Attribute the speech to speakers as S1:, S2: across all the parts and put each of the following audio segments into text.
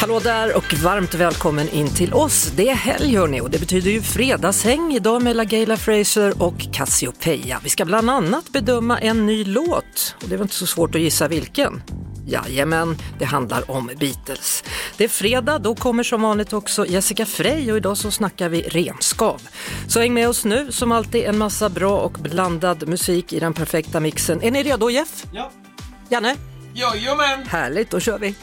S1: Hallå där och varmt välkommen in till oss. Det är helg hörni och det betyder ju fredagshäng idag med LaGaylia Fraser och Cassiopeia. Vi ska bland annat bedöma en ny låt och det var inte så svårt att gissa vilken. Jajamän, det handlar om Beatles. Det är fredag, då kommer som vanligt också Jessica Frey och idag så snackar vi renskav. Så häng med oss nu, som alltid en massa bra och blandad musik i den perfekta mixen. Är ni redo Jeff?
S2: Ja.
S1: Janne?
S2: Jajamän!
S1: Härligt, då kör vi!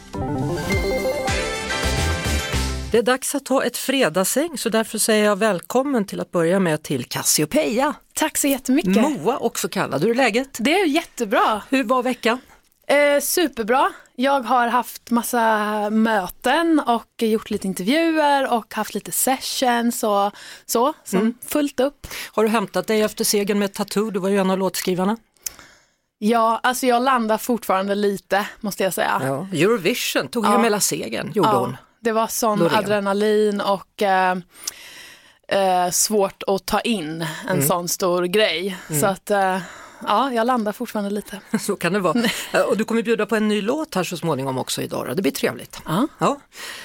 S1: Det är dags att ta ett fredagsäng så därför säger jag välkommen till att börja med till Cassiopeia.
S3: Tack så jättemycket.
S1: Moa också kallad, hur är läget?
S3: det är jättebra.
S1: Hur var veckan?
S3: Eh, superbra. Jag har haft massa möten och gjort lite intervjuer och haft lite sessions och så, som fullt upp.
S1: Har du hämtat dig efter segern med Tattoo? Du var ju en av låtskrivarna.
S3: Ja, alltså jag landar fortfarande lite, måste jag säga.
S1: Ja. Ah. Eurovision tog hem hela segern, gjorde
S3: Ja,
S1: hon.
S3: det var sån
S1: Loreen.
S3: adrenalin och eh, eh, svårt att ta in en sån stor grej. Så att, eh, ja, jag landar fortfarande lite.
S1: Så kan det vara. Eh, Och du kommer bjuda på en ny låt här så småningom också idag. då. Det blir trevligt.
S3: Ja.
S1: Ja.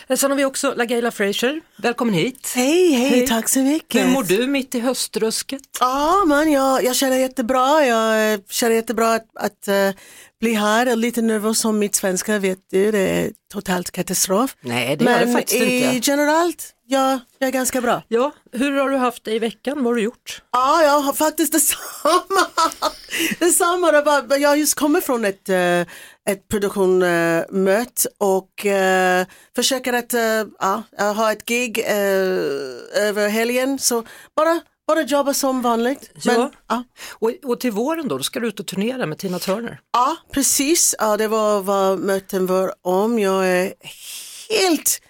S1: Eh, Sen har vi också LaGaylia Fraser. Välkommen hit.
S4: Hej, hej, tack så mycket.
S1: Hur mår du mitt i höstrusket?
S4: Ja, men jag, jag känner jättebra. Jag eh, känner jättebra att, att eh, bli här. Jag är lite nervös om mitt svenska, vet du. Det är totalt katastrof.
S1: Nej, det gör
S4: men
S1: det faktiskt
S4: i
S1: inte.
S4: generellt, ja, jag är ganska bra.
S1: Ja, hur har du haft det i veckan? Vad har du gjort?
S4: Ja, jag har faktiskt detsamma. detsamma. Det var, jag har just kommit från ett, eh, ett produktionmöte och eh, försöker att eh, ja, jag har ett gig eh, över helgen. Så bara, bara jobba som vanligt.
S1: Ja.
S4: Men, ja.
S1: Och, och till våren då, då ska du ut och turnera med Tina Turner.
S4: Ja, precis. Ja, det var vad möten var om. Jag är helt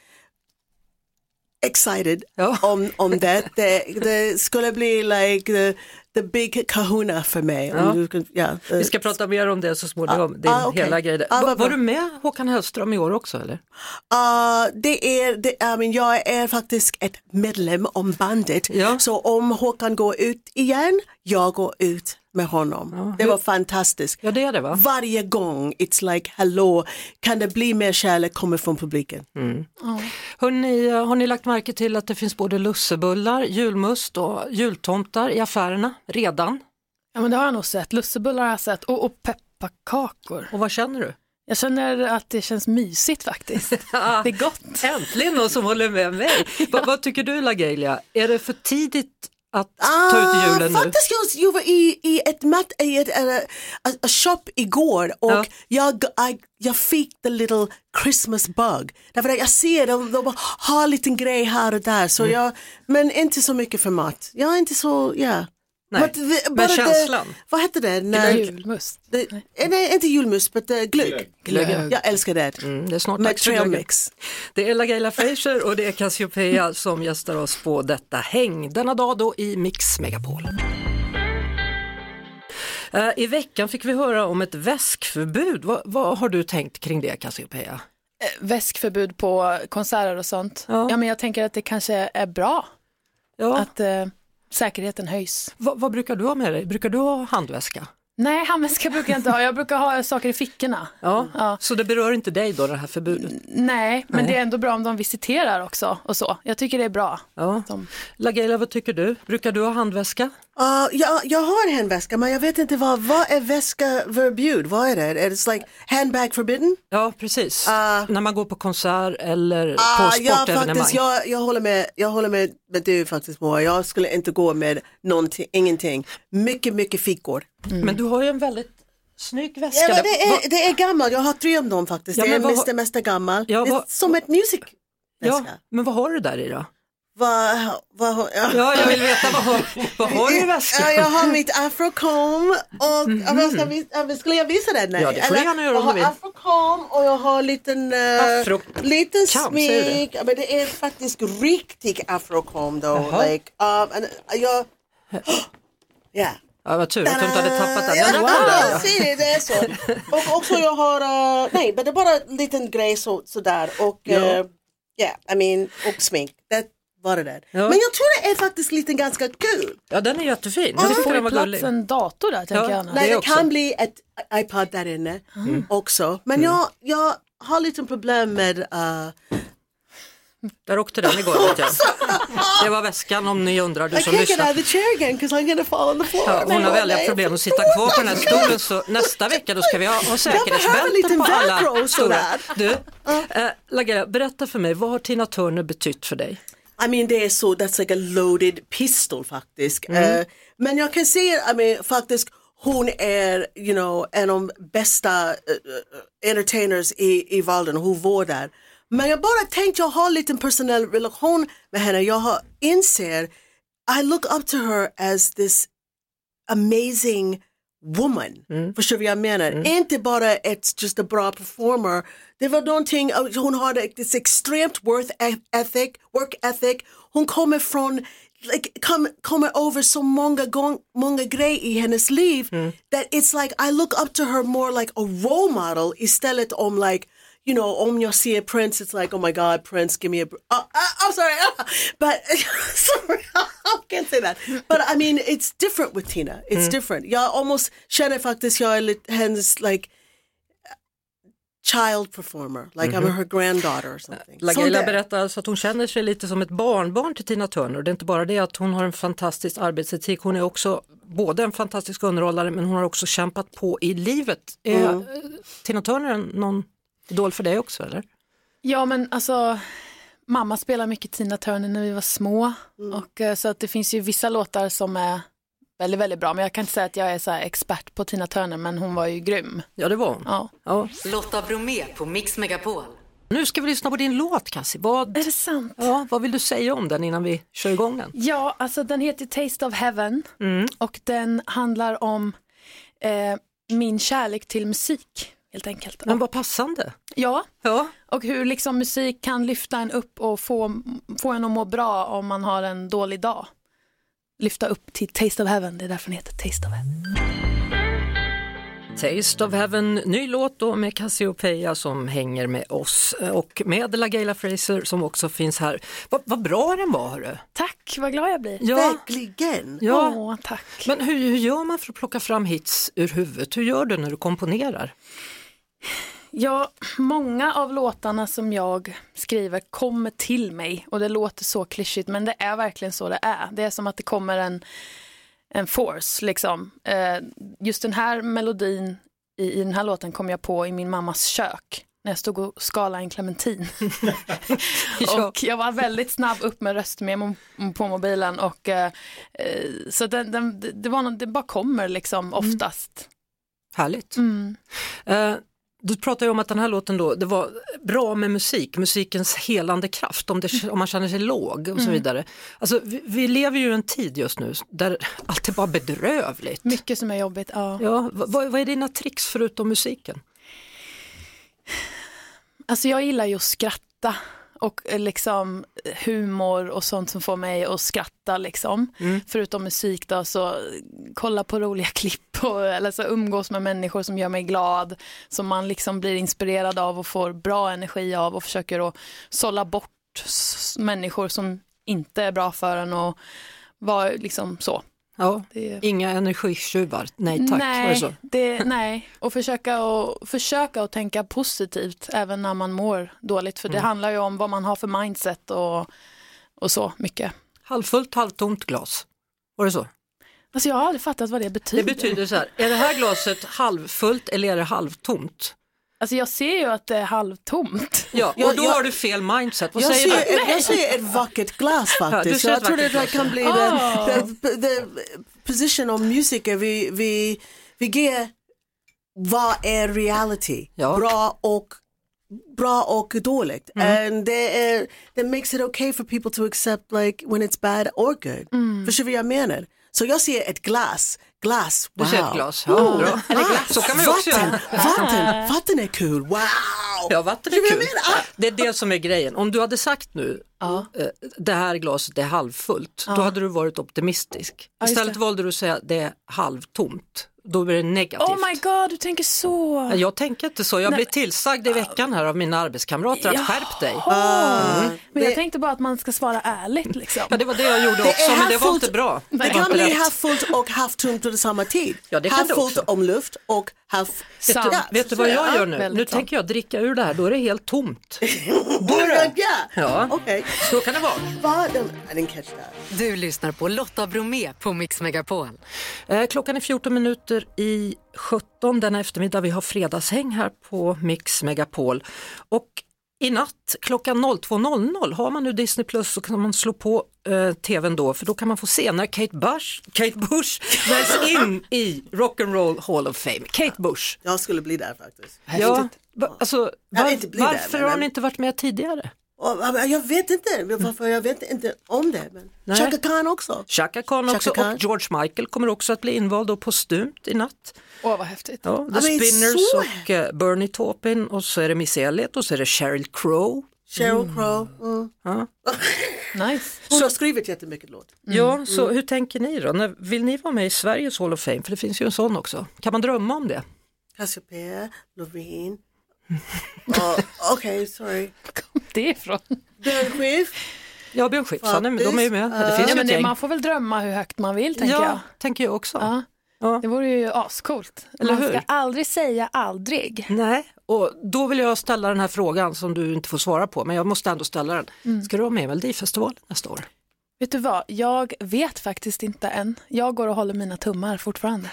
S4: excited
S1: Ja.
S4: om, om det. det. Det skulle bli like the, the big kahuna för mig.
S1: Ja.
S4: Om du, kan- ja, eh,
S1: Vi ska prata mer om det så småningom, din
S4: ah, okej.
S1: hela grej. Där.
S4: Ah,
S1: Va-
S4: vad
S1: var
S4: bra.
S1: du med Håkan Hellström i år också eller?
S4: Ja, det är, det, I mean, jag är faktiskt ett medlem om bandet.
S1: Ja.
S4: Så om Håkan går ut igen, jag går ut med honom. Det var fantastiskt.
S1: Ja det är det va?
S4: Varje gång, it's like hello, kan det bli mer kärlek kommer från publiken?
S1: Hörrni, eh, har ni lagt märke till att det finns både lussebullar, julmust och jultomtar i affärerna redan?
S3: Ja, men det har jag nog sett. Lussebullar har jag sett och, och pepparkakor.
S1: Och vad känner du?
S3: Jag känner att det känns mysigt faktiskt. Det är gott.
S1: Äntligen någon som håller med mig. Va, vad tycker du LaGaylia, är det för tidigt att ta ut
S4: Ah,
S1: julen nu?
S4: faktiskt, jag, jag var i, i ett, mat, i ett äh, a, a shop igår och
S1: Ja.
S4: jag, I, jag fick the little Christmas bug. Därför att jag ser dem, de har en liten grej här och där.
S1: Mm.
S4: Så jag, men inte så mycket för mat. Jag är inte så, ja.
S1: Nej,
S4: But the-
S1: men
S4: bara det-
S1: känslan.
S4: Vad heter det? När,
S3: Julmust.
S4: det, eh, nej, inte julmust, men uh, glögg.
S1: Glögg.
S4: Jag älskar det.
S1: Mm, det är snart
S4: Med
S1: dags för glöggen.
S4: trailmix.
S1: Det är LaGaylia Fraser och det är Cassiopeia som gästar oss på detta häng. Denna dag då i Mix Megapol. Eh, I veckan fick vi höra om ett väskförbud. Vad, vad har du tänkt kring det Cassiopeia?
S3: Eh, Väskförbud på konserter och sånt.
S1: Ja.
S3: Ja. men jag tänker att det kanske är bra
S1: Ja,
S3: att eh, säkerheten höjs.
S1: vad, vad brukar du ha med dig? Brukar du ha handväska?
S3: Nej, handväska brukar jag inte ha. Jag brukar ha saker i fickorna.
S1: Ja.
S3: Ja.
S1: Så det berör inte dig då det här förbudet?
S4: Mm.
S3: Nej, men
S1: Nej.
S3: det är ändå bra om de visiterar också och så. Jag tycker det är bra.
S1: Ja.
S3: De-
S1: LaGaylia, vad tycker du? Brukar du ha handväska?
S4: Uh, jag, jag har en handväska men jag vet inte vad, vad är väska förbjud? Vad är det? It's like handbag forbidden?
S1: Ja, precis.
S4: Ah.
S1: När man går på konsert eller på
S4: Ah, ja,
S1: sportevenemang.
S4: faktiskt, jag, jag håller med, jag håller med, med du faktiskt Moa. Jag skulle inte gå med någonting, ingenting. Mycket, mycket fickor.
S1: Men du har ju en väldigt snygg väska.
S4: Mm. Ja, men
S1: där.
S4: det,
S1: Vad-
S4: är, det är gammal, jag har tre om dem faktiskt.
S1: Ja,
S4: det
S1: men
S4: är
S1: vad-
S4: mest, mest gammal.
S1: Ja,
S4: det är
S1: vad-
S4: som ett musik.
S1: Ja, men vad har du där i då?
S4: vad, vad hon, ja.
S1: Ja, jag vill veta vad har, vad har du i väskan?
S4: Eh, Ja, jag har mitt afrocomb och ja, men ska vi, ja, men skulle jag visa den? Nej.
S1: Ja, det får du gärna göra
S4: jag
S1: om du
S4: har
S1: vill.
S4: afrocomb och jag har liten, eh,
S1: Afro-
S4: liten
S1: kam, säger du?
S4: smink. Ja, men det är faktiskt riktig afrocomb då.
S1: Jaha.
S4: Like, um, and, uh, jag, ja.
S1: Ja, vad tur att du inte hade tappat den.
S4: Ja,
S1: Men wow.
S4: ser ni, det är så. Och också jag har, eh, nej men det är bara en liten grej så, sådär och ja, I mean, och smink. Det var det där.
S1: Ja.
S4: Men jag tror det är faktiskt lite ganska kul.
S1: Ja, den är jättefin.
S3: Du
S1: Jag tyckte
S3: får
S1: den
S3: ju
S1: var
S3: plats
S1: gullig.
S3: en dator där tänker jag.
S1: Det
S4: Nej, det,
S1: också. Mm.
S4: kan bli ett iPad där inne också. Men jag, jag har lite problem med, eh,
S1: Där åkte den igår vet jag. Det var väskan om ni undrar, du
S4: I
S1: som
S4: can't get out
S1: lyssnar.
S4: of the chair again because I'm gonna fall on the floor.
S1: Ja, hon har
S4: Nej,
S1: väldiga
S4: nej.
S1: problem att sitta kvar på den här stolen så nästa vecka då ska vi ha, ha säkerhetsbälten
S4: liten
S1: på
S4: Velcro
S1: alla
S4: och
S1: stolar.
S4: sådär.
S1: Du, eh, Lagera, berätta för mig, vad har Tina Turner betytt för dig?
S4: I mean det är så, that's like a loaded pistol faktiskt.
S1: Mm.
S4: Eh, men jag kan säga, I mean faktiskt hon är, you know, en av de bästa eh, eh, entertainers i, i världen, hon var där. Men jag bara tänkte, jag har en liten personell relation med henne, jag har, inser, I look up to her as this amazing woman. Förstår du vad jag menar? Inte bara ett just a bra performer. Det var någonting, hon hade ett extremt worth e-, ethic, work ethic. Hon kommer från, like, kom, kommer över så många, gång, många grejer i hennes liv. That it's like I look up to her more like a role model istället om like you know, om jag ser Prince, it's like, oh my god, Prince, give me a, br- uh, uh, I'm sorry, uh, but, sorry, I can't say that. But I mean, it's different with Tina, it's different. Jag almost känner faktiskt, jag är lite hennes, like, child performer, like I'm her granddaughter or something. Sånt
S1: Lagela
S4: där.
S1: berättar alltså att hon känner sig lite som ett barnbarn till Tina Turner. Det är inte bara det att hon har en fantastisk arbetsetik, hon är också både en fantastisk underhållare men hon har också kämpat på i livet. Är eh, Tina Turner en- någon idol för dig också eller?
S3: Ja men alltså mamma spelade mycket Tina Turner när vi var små och eh, så att det finns ju vissa låtar som är väldigt väldigt bra men jag kan inte säga att jag är så här expert på Tina Turner men hon var ju grym.
S1: Ja det var hon.
S3: Ja.
S1: Ja.
S5: Lotta Bromé på Mix Megapol.
S1: Nu ska vi lyssna på din låt Cassie. Vad,
S3: Är det sant?
S1: ja, vad vill du säga om den innan vi kör igång den?
S3: Ja, alltså den heter Taste of Heaven och den handlar om eh, min kärlek till musik helt enkelt.
S1: Men vad passande.
S3: Ja,
S1: Ja.
S3: och hur liksom musik kan lyfta en upp och få, få en att må bra om man har en dålig dag. Lyfta upp till Taste of Heaven, det är därför den heter Taste of Heaven.
S1: Taste of Heaven, ny låt då med Cassiopeia som hänger med oss och med LaGaylia Fraser som också finns här. Vad, vad bra den var hörru.
S3: Tack, vad glad jag blir.
S1: Ja,
S4: Verkligen.
S1: ja.
S3: Åh, tack.
S1: Men hur, hur gör man för att plocka fram hits ur huvudet? Hur gör du när du komponerar?
S3: Ja, många av låtarna som jag skriver kommer till mig och det låter så klyschigt men det är verkligen så det är. Det är som att det kommer en, en force liksom. Eh, just den här melodin i, i den här låten kom jag på i min mammas kök när jag stod och skalade en clementin. och jag var väldigt snabb upp med röstmemo på mobilen och eh, eh, så den, den, det- det, var någon, det bara kommer liksom oftast.
S1: Härligt.
S3: Mm.
S1: Eh, du pratade ju om att den här låten då, det var bra med musik, musikens helande kraft om, det, om man känner sig låg
S3: Mm.
S1: och så vidare. Alltså, vi, vi lever ju i en tid just nu där allt är bara bedrövligt.
S3: Mycket som är jobbigt, ja.
S1: Ja, vad, vad vad är dina tricks förutom musiken?
S3: Alltså jag gillar ju att skratta och eh, liksom humor och sånt som får mig att skratta liksom. Förutom musik då så eh, kolla på roliga klipp och eller så umgås med människor som gör mig glad, som man liksom blir inspirerad av och får bra energi av och försöker att sålla bort s- människor som inte är bra för en och vara liksom så.
S1: Ja,
S3: Det är-
S1: Inga energitjuvar, nej tack. Var det
S3: nej,
S1: så?
S3: det, nej, och försöka, och försöka att tänka positivt även när man mår dåligt. För det
S1: Mm.
S3: handlar ju om vad man har för mindset och, och så mycket.
S1: Halvfullt, halvtomt glas. Var det så?
S3: Alltså jag har aldrig fattat vad det
S1: Det
S3: betyder.
S1: betyder så här, är det här glaset halvfullt eller är det halvtomt?
S3: Alltså jag ser ju att det är halvtomt.
S1: Ja,
S4: Jag-
S1: och då
S4: jag-
S1: har du fel mindset. Vad
S4: Jag
S1: säger du?
S4: ser, jag ser ett vackert glas faktiskt.
S1: ser ett
S4: jag tror
S1: vackert
S4: det
S1: glas,
S4: kan bli
S3: ja.
S4: den
S3: Ah.
S4: the, the position of music. Vi, vi, vi ger vad är reality,
S1: Ja.
S4: bra och bra och dåligt.
S1: Mm.
S4: And det är, that makes it okay for people to accept like when it's bad or good.
S1: Mm.
S4: Förstår du vad jag menar? Så jag ser ett glas, glass,
S1: Du
S4: wow.
S1: ser ett glas, ja, bra. Så kan man ju också
S4: vatten,
S1: göra. Ah.
S4: vatten, vatten är kul, wow!
S1: Ja, vatten
S4: Förstår
S1: är
S4: du vad
S1: kul.
S4: jag menar? Ah.
S1: Det är det som är grejen. Om du hade sagt nu, eh, det här glaset är halvfullt, då hade du varit optimistisk.
S3: just
S1: Istället
S3: det.
S1: valde du att säga det är halvtomt, då blir det negativt.
S3: Oh my god, du tänker så.
S1: Jag tänker inte så, jag blev tillsagd i veckan här av mina arbetskamrater att skärp dig.
S3: Jaha. Men jag
S4: Det-
S3: tänkte bara att man ska svara ärligt liksom.
S1: Ja, det var det jag gjorde också, men det var inte bra.
S4: Det
S1: Det var
S4: kan
S1: inte
S4: bli
S1: rätt.
S4: halvfullt och halvtomt på samma tid.
S1: Ja, det kan det
S4: halvfullt
S1: också.
S4: om luft och halv...
S1: Vet
S3: Sant.
S1: du, vet du vad jag
S3: Ja,
S1: gör nu? Nu
S3: väldigt sant.
S1: tänker jag dricka ur det här, då är det helt tomt.
S4: Börja!
S1: Ja.
S4: Okej.
S1: Så kan det vara.
S4: Vaden- I didn't catch that.
S5: Du lyssnar på Lotta Bromé på Mix Megapol.
S1: Eh, Klockan är 14 minuter i 17 denna eftermiddag. Vi har fredagshäng här på Mix Megapol. Och i natt klockan 02.00, har man nu Disney Plus så kan man slå på eh, tvn då, för då kan man få se när Kate Bush, Kate Bush väljs in i Rock'n'Roll Hall of Fame. Kate Bush.
S4: Jag skulle bli där faktiskt.
S1: Ja, va, alltså,
S4: Jag vill
S1: var,
S4: inte bli där,
S1: varför har
S4: men-
S1: hon inte varit med tidigare?
S4: Och, men jag vet inte varför, jag vet inte om det. Men
S1: Nej.
S4: Chaka Khan också.
S1: Chaka Khan också
S4: Chaka Khan.
S1: och George Michael kommer också att bli invald och postumt i natt.
S3: Åh vad häftigt.
S1: Ja, The
S4: men så-
S1: Spinners och eh, Bernie Taupin och så är det Missy Elliott och så är det Sheryl Crow.
S4: Sheryl Crow. Mm.
S3: Nice.
S4: Hon har skrivit jättemycket låt.
S1: Ja, så hur tänker ni då? När, vill ni vara med i Sveriges Hall of Fame? För det finns ju en sån också. Kan man drömma om det?
S4: Cassiopeia, Loreen. Ja, Okej, sorry.
S3: Kom det ifrån?
S4: Björn Skifs.
S1: Ja, Björn Skifs, han är med, de är ju med. Det finns
S3: Ja,
S1: ju
S3: men
S1: ett
S3: det,
S1: gäng.
S3: man får väl drömma hur högt man vill tänker jag.
S1: Ja, tänker jag också.
S3: Ja.
S1: Ja.
S3: Det vore ju ascoolt.
S1: Eller
S3: man
S1: hur?
S3: ska aldrig säga aldrig.
S1: Nej, och då vill jag ställa den här frågan som du inte får svara på, men jag måste ändå ställa den. Ska du vara med i Melodifestivalen nästa år?
S3: Vet du vad, jag vet faktiskt inte än. Jag går och håller mina tummar fortfarande.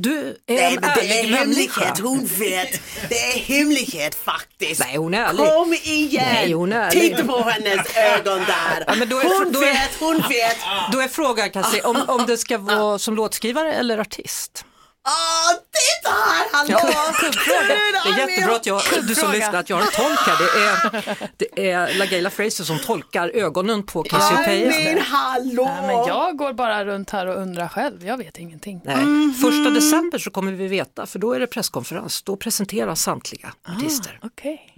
S1: Du är
S4: Nej,
S1: en
S4: men det
S1: ärlig
S4: är hemlighet,
S1: människa.
S4: hon vet. Det är hemlighet faktiskt.
S1: Nej, hon är ärlig.
S4: Kom igen!
S1: Nej, hon är ärlig.
S4: Titta på hennes ögon där.
S1: Ja, men då är-
S4: hon
S1: då är-
S4: vet, hon vet.
S1: Då är frågan Kassi, om, om det ska vara som låtskrivare eller artist?
S4: Åh, titta här, hallå!
S1: Ja, kuggfråga. Det är jättebra att jag, du som lyssnar att jag har en tolk här. Det är, det är LaGaylia Fraser som tolkar ögonen på
S4: Nej, men
S1: Cassiopeia.
S4: hallå!
S3: Nej, men jag går bara runt här och undrar själv. Jag vet ingenting.
S1: Nej. Första december så kommer vi veta för då är det presskonferens. Då presenteras samtliga artister.
S3: Okej.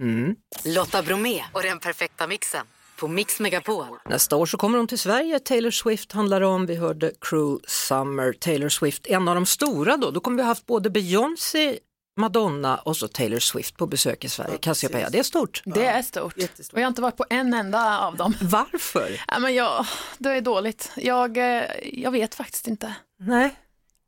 S5: Lotta Bromé och den perfekta mixen på Mix Megapol.
S1: Nästa år så kommer de till Sverige. Taylor Swift handlar det om. Vi hörde Cruel Summer. Taylor Swift, en av de stora då. Då kommer vi haft både Beyoncé, Madonna och så Taylor Swift på besök i Sverige. Cassiopeia, det är stort.
S3: Det är stort.
S4: jättestort.
S3: Och jag har inte varit på en enda av dem.
S1: Varför?
S3: Nej, men jag, det är dåligt. Jag, eh, jag vet faktiskt inte.
S1: Nej.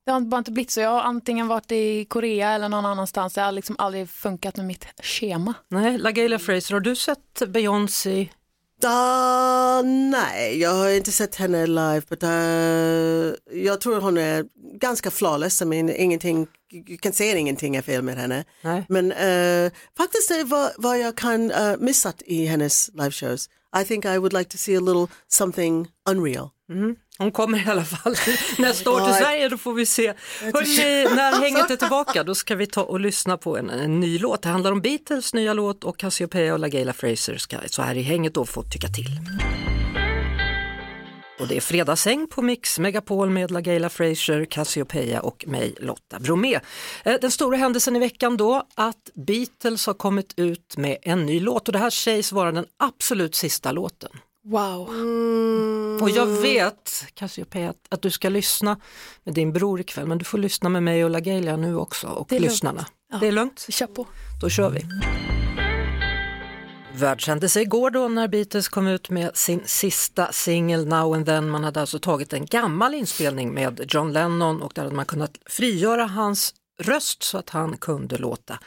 S3: Det har bara inte blivit så. Jag har antingen varit i Korea eller någon annanstans. Det har liksom aldrig funkat med mitt schema.
S1: Nej, LaGaylia Fraser, har du sett Beyoncé?
S4: Ah, nej, jag har inte sett henne live. But, eh, jag tror hon är ganska flawless. I mean, ingenting, jag kan säga ingenting är fel med henne.
S1: Nej.
S4: Men eh, faktiskt det var vad jag kan eh, missat i hennes liveshows. I think I would like to see a little something unreal.
S1: Hon kommer i alla fall nästa år till
S4: God.
S1: Sverige, då får vi se. Hörrni, när hänget är tillbaka då ska vi ta och lyssna på en, en ny låt. Det handlar om Beatles nya låt och Cassiopeia och LaGaylia Fraser ska så här i hänget då få tycka till. Och det är fredagshäng på Mix Megapol med LaGaylia Fraser, Cassiopeia och mig Lotta Bromé. Eh, Den stora händelsen i veckan då att Beatles har kommit ut med en ny låt och det här sägs vara den absolut sista låten.
S3: Wow.
S1: Och jag
S3: Mm.
S1: vet, Cassiopeia, att- att du ska lyssna med din bror ikväll, men du får lyssna med mig och LaGaylia nu också och
S3: Det är lugnt.
S1: lyssnarna.
S3: Ja.
S1: Det är lugnt,
S3: Kör på.
S1: då kör vi. Världskände sig igår då när Beatles kom ut med sin sista singel Now and then. Man hade alltså tagit en gammal inspelning med John Lennon och där hade man kunnat frigöra hans röst så att han kunde låta.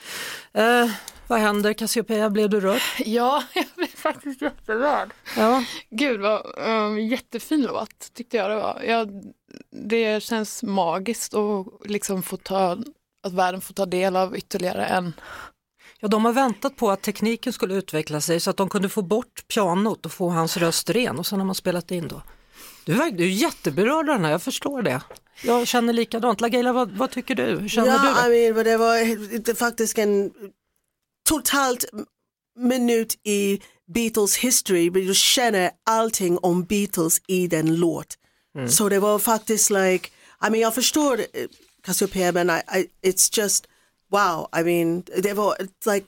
S1: Eh, vad händer Cassiopeia, blev du rörd?
S3: Ja, jag blev faktiskt jätterörd.
S1: Ja.
S3: Gud vad um, jättefin låt tyckte jag det var. Jag, det känns magiskt att liksom få ta, att världen får ta del av ytterligare en.
S1: Ja, de har väntat på att tekniken skulle utveckla sig så att de kunde få bort pianot och få hans röst ren och sen har man spelat in då. Du är, verk- du är jätteberörd av den här, jag förstår det. Jag känner likadant. LaGaylia, vad, vad tycker du? Hur känner
S4: ja,
S1: du?
S4: I mean, men det var det är faktiskt en totalt minut i Beatles history men du känner allting om Beatles i den låt. Så det var faktiskt like, I mean jag förstår eh, Cassiopeia men I, I, it's just wow, I mean det var it's like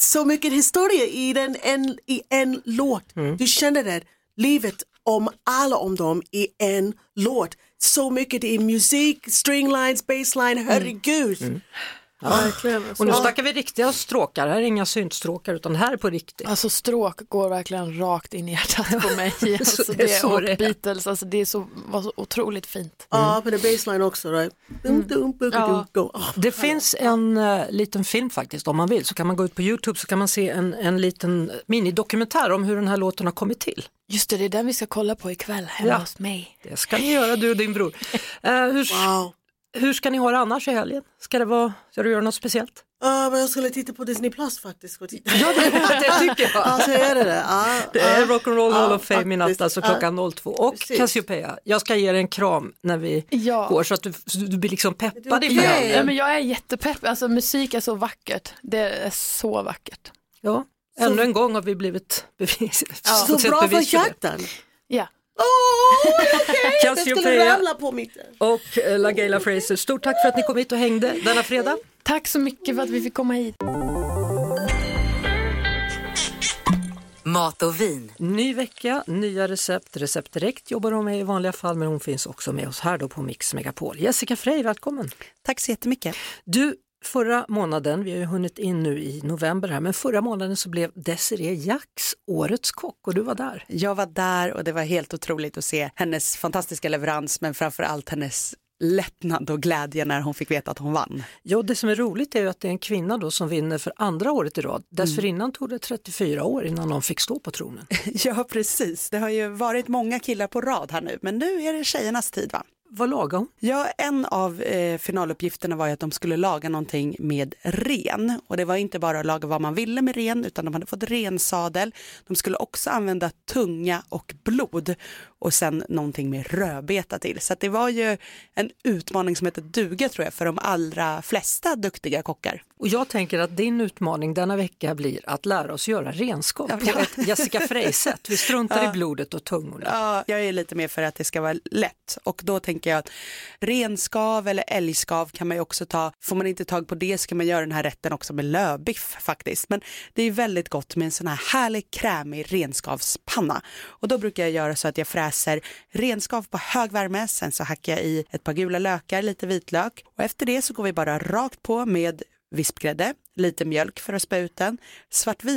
S4: så mycket historia i, den, en, i en låt.
S1: Mm.
S4: Du känner det, livet om alla om dem i en låt. Så mycket i musik, stringlines, bassline,
S1: Mm.
S4: herregud.
S3: Verkligen. alltså.
S1: Och nu snackar vi riktiga stråkar, här är inga syntstråkar utan här är på riktigt.
S3: Alltså stråk går verkligen rakt in i hjärtat på mig. Alltså,
S1: det är
S3: det
S1: så
S3: och
S1: det är.
S3: Beatles, alltså, det är så, var så otroligt fint.
S1: Mm.
S4: Ja, men det är bassline också. Right? Dum, dum, dum, dum, go. Ah,
S1: Det finns en eh, liten film faktiskt om man vill, så kan man gå ut på Youtube så kan man se en, en liten minidokumentär om hur den här låten har kommit till.
S3: Just det, det är den vi ska kolla på ikväll hemma
S1: Ja.
S3: hos mig.
S1: Det ska ni göra du och din bror. Eh, hur,
S4: Wow.
S1: hur ska ni ha det annars i helgen? Ska, det vara, ska du göra något speciellt?
S4: Ah, men jag skulle titta på Disney Plus faktiskt. och titta.
S1: Ja, det, det tycker jag.
S4: Alltså är det det? Ah,
S1: Det är
S4: ah.
S1: Eh, Rock'n'Roll Hall
S4: Ja,
S1: of Fame i natt,
S4: faktiskt.
S1: alltså
S4: Ja.
S1: klockan 02. Och
S4: Precis.
S1: Cassiopeia, jag ska ge dig en kram när vi
S3: Ja.
S1: går så att du, så du blir liksom peppad
S4: Du-
S1: inför
S4: Ja.
S1: helgen.
S3: Ja, men jag är jättepepp, alltså musik är så vackert. Det är så vackert.
S1: Ja. Ännu en gång har vi blivit bevis,
S4: Så
S1: fått sett
S4: bra
S1: bevis
S4: för
S1: för det.
S4: hjärtan.
S3: Ja.
S4: Åh, okej, det skulle
S1: Cassiopeia.
S4: ramla på mitten.
S1: Och eh, LaGaylia Fraser, stort tack för att ni kom hit och hängde denna fredag.
S3: Tack så mycket för att vi fick komma hit.
S5: Mat och vin.
S1: Ny vecka, nya recept. Recept direkt jobbar hon med i vanliga fall men hon finns också med oss här då på Mix Megapol. Jessica Frey, välkommen.
S2: Tack så jättemycket.
S1: Du, förra månaden, vi har ju hunnit in nu i november här, men förra månaden så blev Desiree Jacks årets kock och du var där.
S2: Jag var där och det var helt otroligt att se hennes fantastiska leverans men framför allt hennes lättnad och glädje när hon fick veta att hon vann.
S1: Ja, det som är roligt är ju att det är en kvinna då som vinner för andra året i rad. Dessförinnan tog det 34 år innan hon fick stå på tronen.
S2: Ja, precis. Det har ju varit många killar på rad här nu, men nu är det tjejernas tid va?
S1: Vad lagade hon?
S2: Ja, en av eh, finaluppgifterna var ju att de skulle laga någonting med ren. Och det var inte bara att laga vad man ville med ren, utan de hade fått rensadel. De skulle också använda tunga och blod och sen någonting med rödbeta till. Så att det var ju en utmaning som heter duga tror jag för de allra flesta duktiga kockar.
S1: Och jag tänker att din utmaning denna vecka blir att lära oss göra renskap på ett Jessica Frey-sätt. Vi struntar i blodet och tungorna.
S2: Ja, jag är lite mer för att det ska vara lätt och då tänker jag att renskav eller älgskav kan man ju också ta, får man inte tag på det så kan man göra den här rätten också med lövbiff faktiskt. Men det är väldigt gott med en sån här härlig krämig renskavspanna och då brukar jag göra så att jag fräser renskav på hög värme, sen så hackar jag i ett par gula lökar, lite vitlök och efter det så går vi bara rakt på med vispgrädde, lite mjölk för att spä ut den,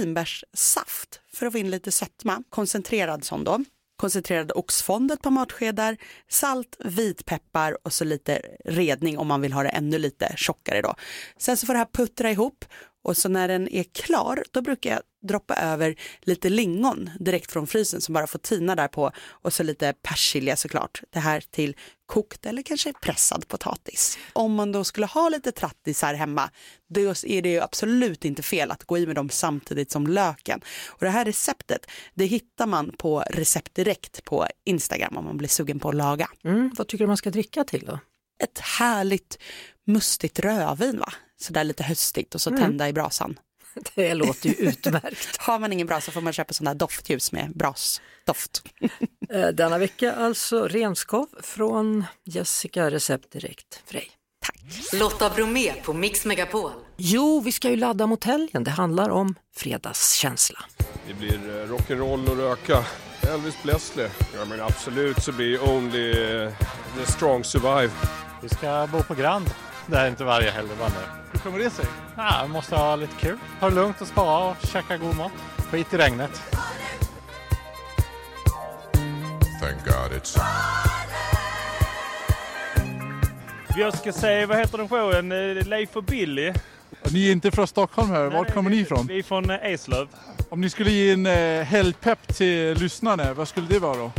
S2: svartvinbärssaft för att få in lite sötma, koncentrerad sån då, koncentrerad oxfond ett par matskedar, salt, vitpeppar och så lite redning om man vill ha det ännu lite tjockare då. Sen så får det här puttra ihop och så när den är klar då brukar jag droppa över lite lingon direkt från frysen som bara får tina där på och så lite persilja såklart. Det här till kokt eller kanske pressad potatis. Om man då skulle ha lite trattisar hemma då är det ju absolut inte fel att gå i med dem samtidigt som löken. Och det här receptet det hittar man på recept direkt på Instagram om man blir sugen på att laga.
S1: Mm, vad tycker du man ska dricka till då?
S2: Ett härligt mustigt rödvin va? Sådär lite höstigt och så tända i brasan.
S1: Det låter ju utmärkt.
S2: Har man ingen brasa får man köpa sådana här doftljus med brasdoft.
S1: Eh, Denna vecka alltså renskav från Jessica Recept Direkt Frey.
S5: Lotta Bromé på Mix Megapol.
S1: Jo, vi ska ju ladda mot helgen. Det handlar om fredagskänsla.
S6: Det blir eh, rock'n'roll och röka. Elvis Presley. Ja men absolut så blir only eh, the strong survive.
S7: Vi ska bo på Grand. Det här är inte varje helg bara nu. Hur kommer det sig? Ja, vi måste ha lite kul. Ta det lugnt och spara och käka god mat. Skit i regnet.
S6: Thank God it's...
S8: Jag ska säga, vad heter den showen? Eh, Leif och Billy.
S7: Ni är inte från Stockholm här. Var kommer ni ifrån?
S8: Vi är från eh, Eslöv.
S7: Om ni skulle ge en eh, helgpepp till lyssnarna, vad skulle det vara då?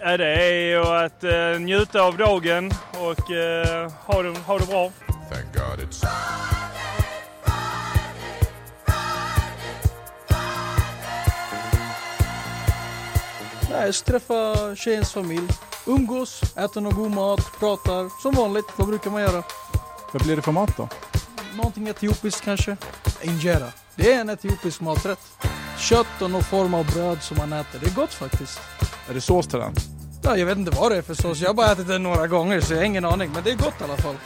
S8: Ja, Det är ju att eh, njuta av dagen och eh, ha det, ha det bra.
S6: Thank God it's...
S7: Nej, träffa tjejens familj. Umgås, äter någon god mat, pratar. Som vanligt, vad brukar man göra? Vad blir det för mat då? Någonting etiopiskt kanske. Injera.
S4: Det är en etiopisk maträtt. Kött och någon form av bröd som man äter. Det är gott faktiskt.
S9: Är det sås till den?
S4: Ja, jag vet inte vad det är för sås. Jag har bara ätit den några gånger så jag har ingen aning. Men det är gott i alla fall.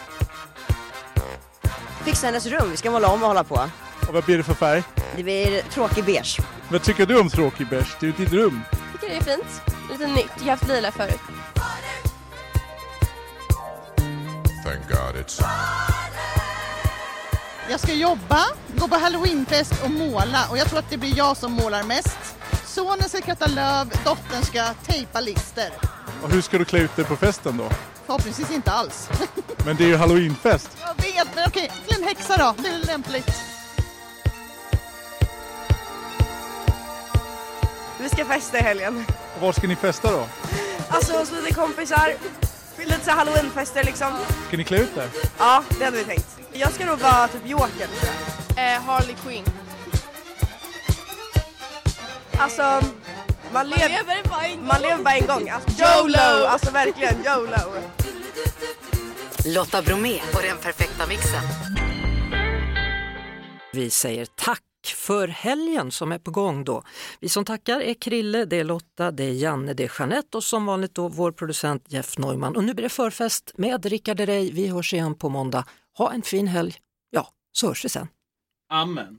S10: Fixa hennes rum, vi ska måla om och hålla på.
S9: Och vad blir det för färg?
S10: Det blir tråkig beige.
S9: Vad tycker du om tråkig bärs? Det är ju ditt rum.
S11: tycker det är fint. Lite nytt. Jag har haft lila förut.
S12: Thank God it's...
S3: Jag ska jobba, gå på halloweenfest och måla och jag tror att det blir jag som målar mest. Sonen ska kratta löv, dottern ska tejpa lister.
S9: Och hur ska du klä ut dig på festen då?
S3: Förhoppningsvis inte alls.
S9: Men det är ju halloweenfest.
S3: jag vet, men okej, till en häxa då, det är lämpligt.
S13: Vi ska festa i helgen.
S9: Och var ska ni festa då?
S13: Alltså hos lite kompisar. Lite så här halloweenfester liksom.
S9: Ska ni klä ut er?
S13: Ja, det hade vi tänkt. Jag ska nog vara typ joker.
S11: Eh, Harley Quinn.
S13: Alltså, man, lev... man lever bara en gång. Man lever bara en gång. Alltså,
S5: YOLO!
S13: YOLO! Alltså verkligen YOLO!
S5: Lotta Bromé och den perfekta mixen.
S1: Vi säger tack för helgen som är på gång då. Vi som tackar är Krille, det är Lotta, det är Janne, det är Jeanette och som vanligt då vår producent Jeff Neumann. Och nu blir det förfest med Rickard Herrey. Vi hörs igen på måndag. Ha en fin helg. Ja, så hörs vi sen.
S14: Amen.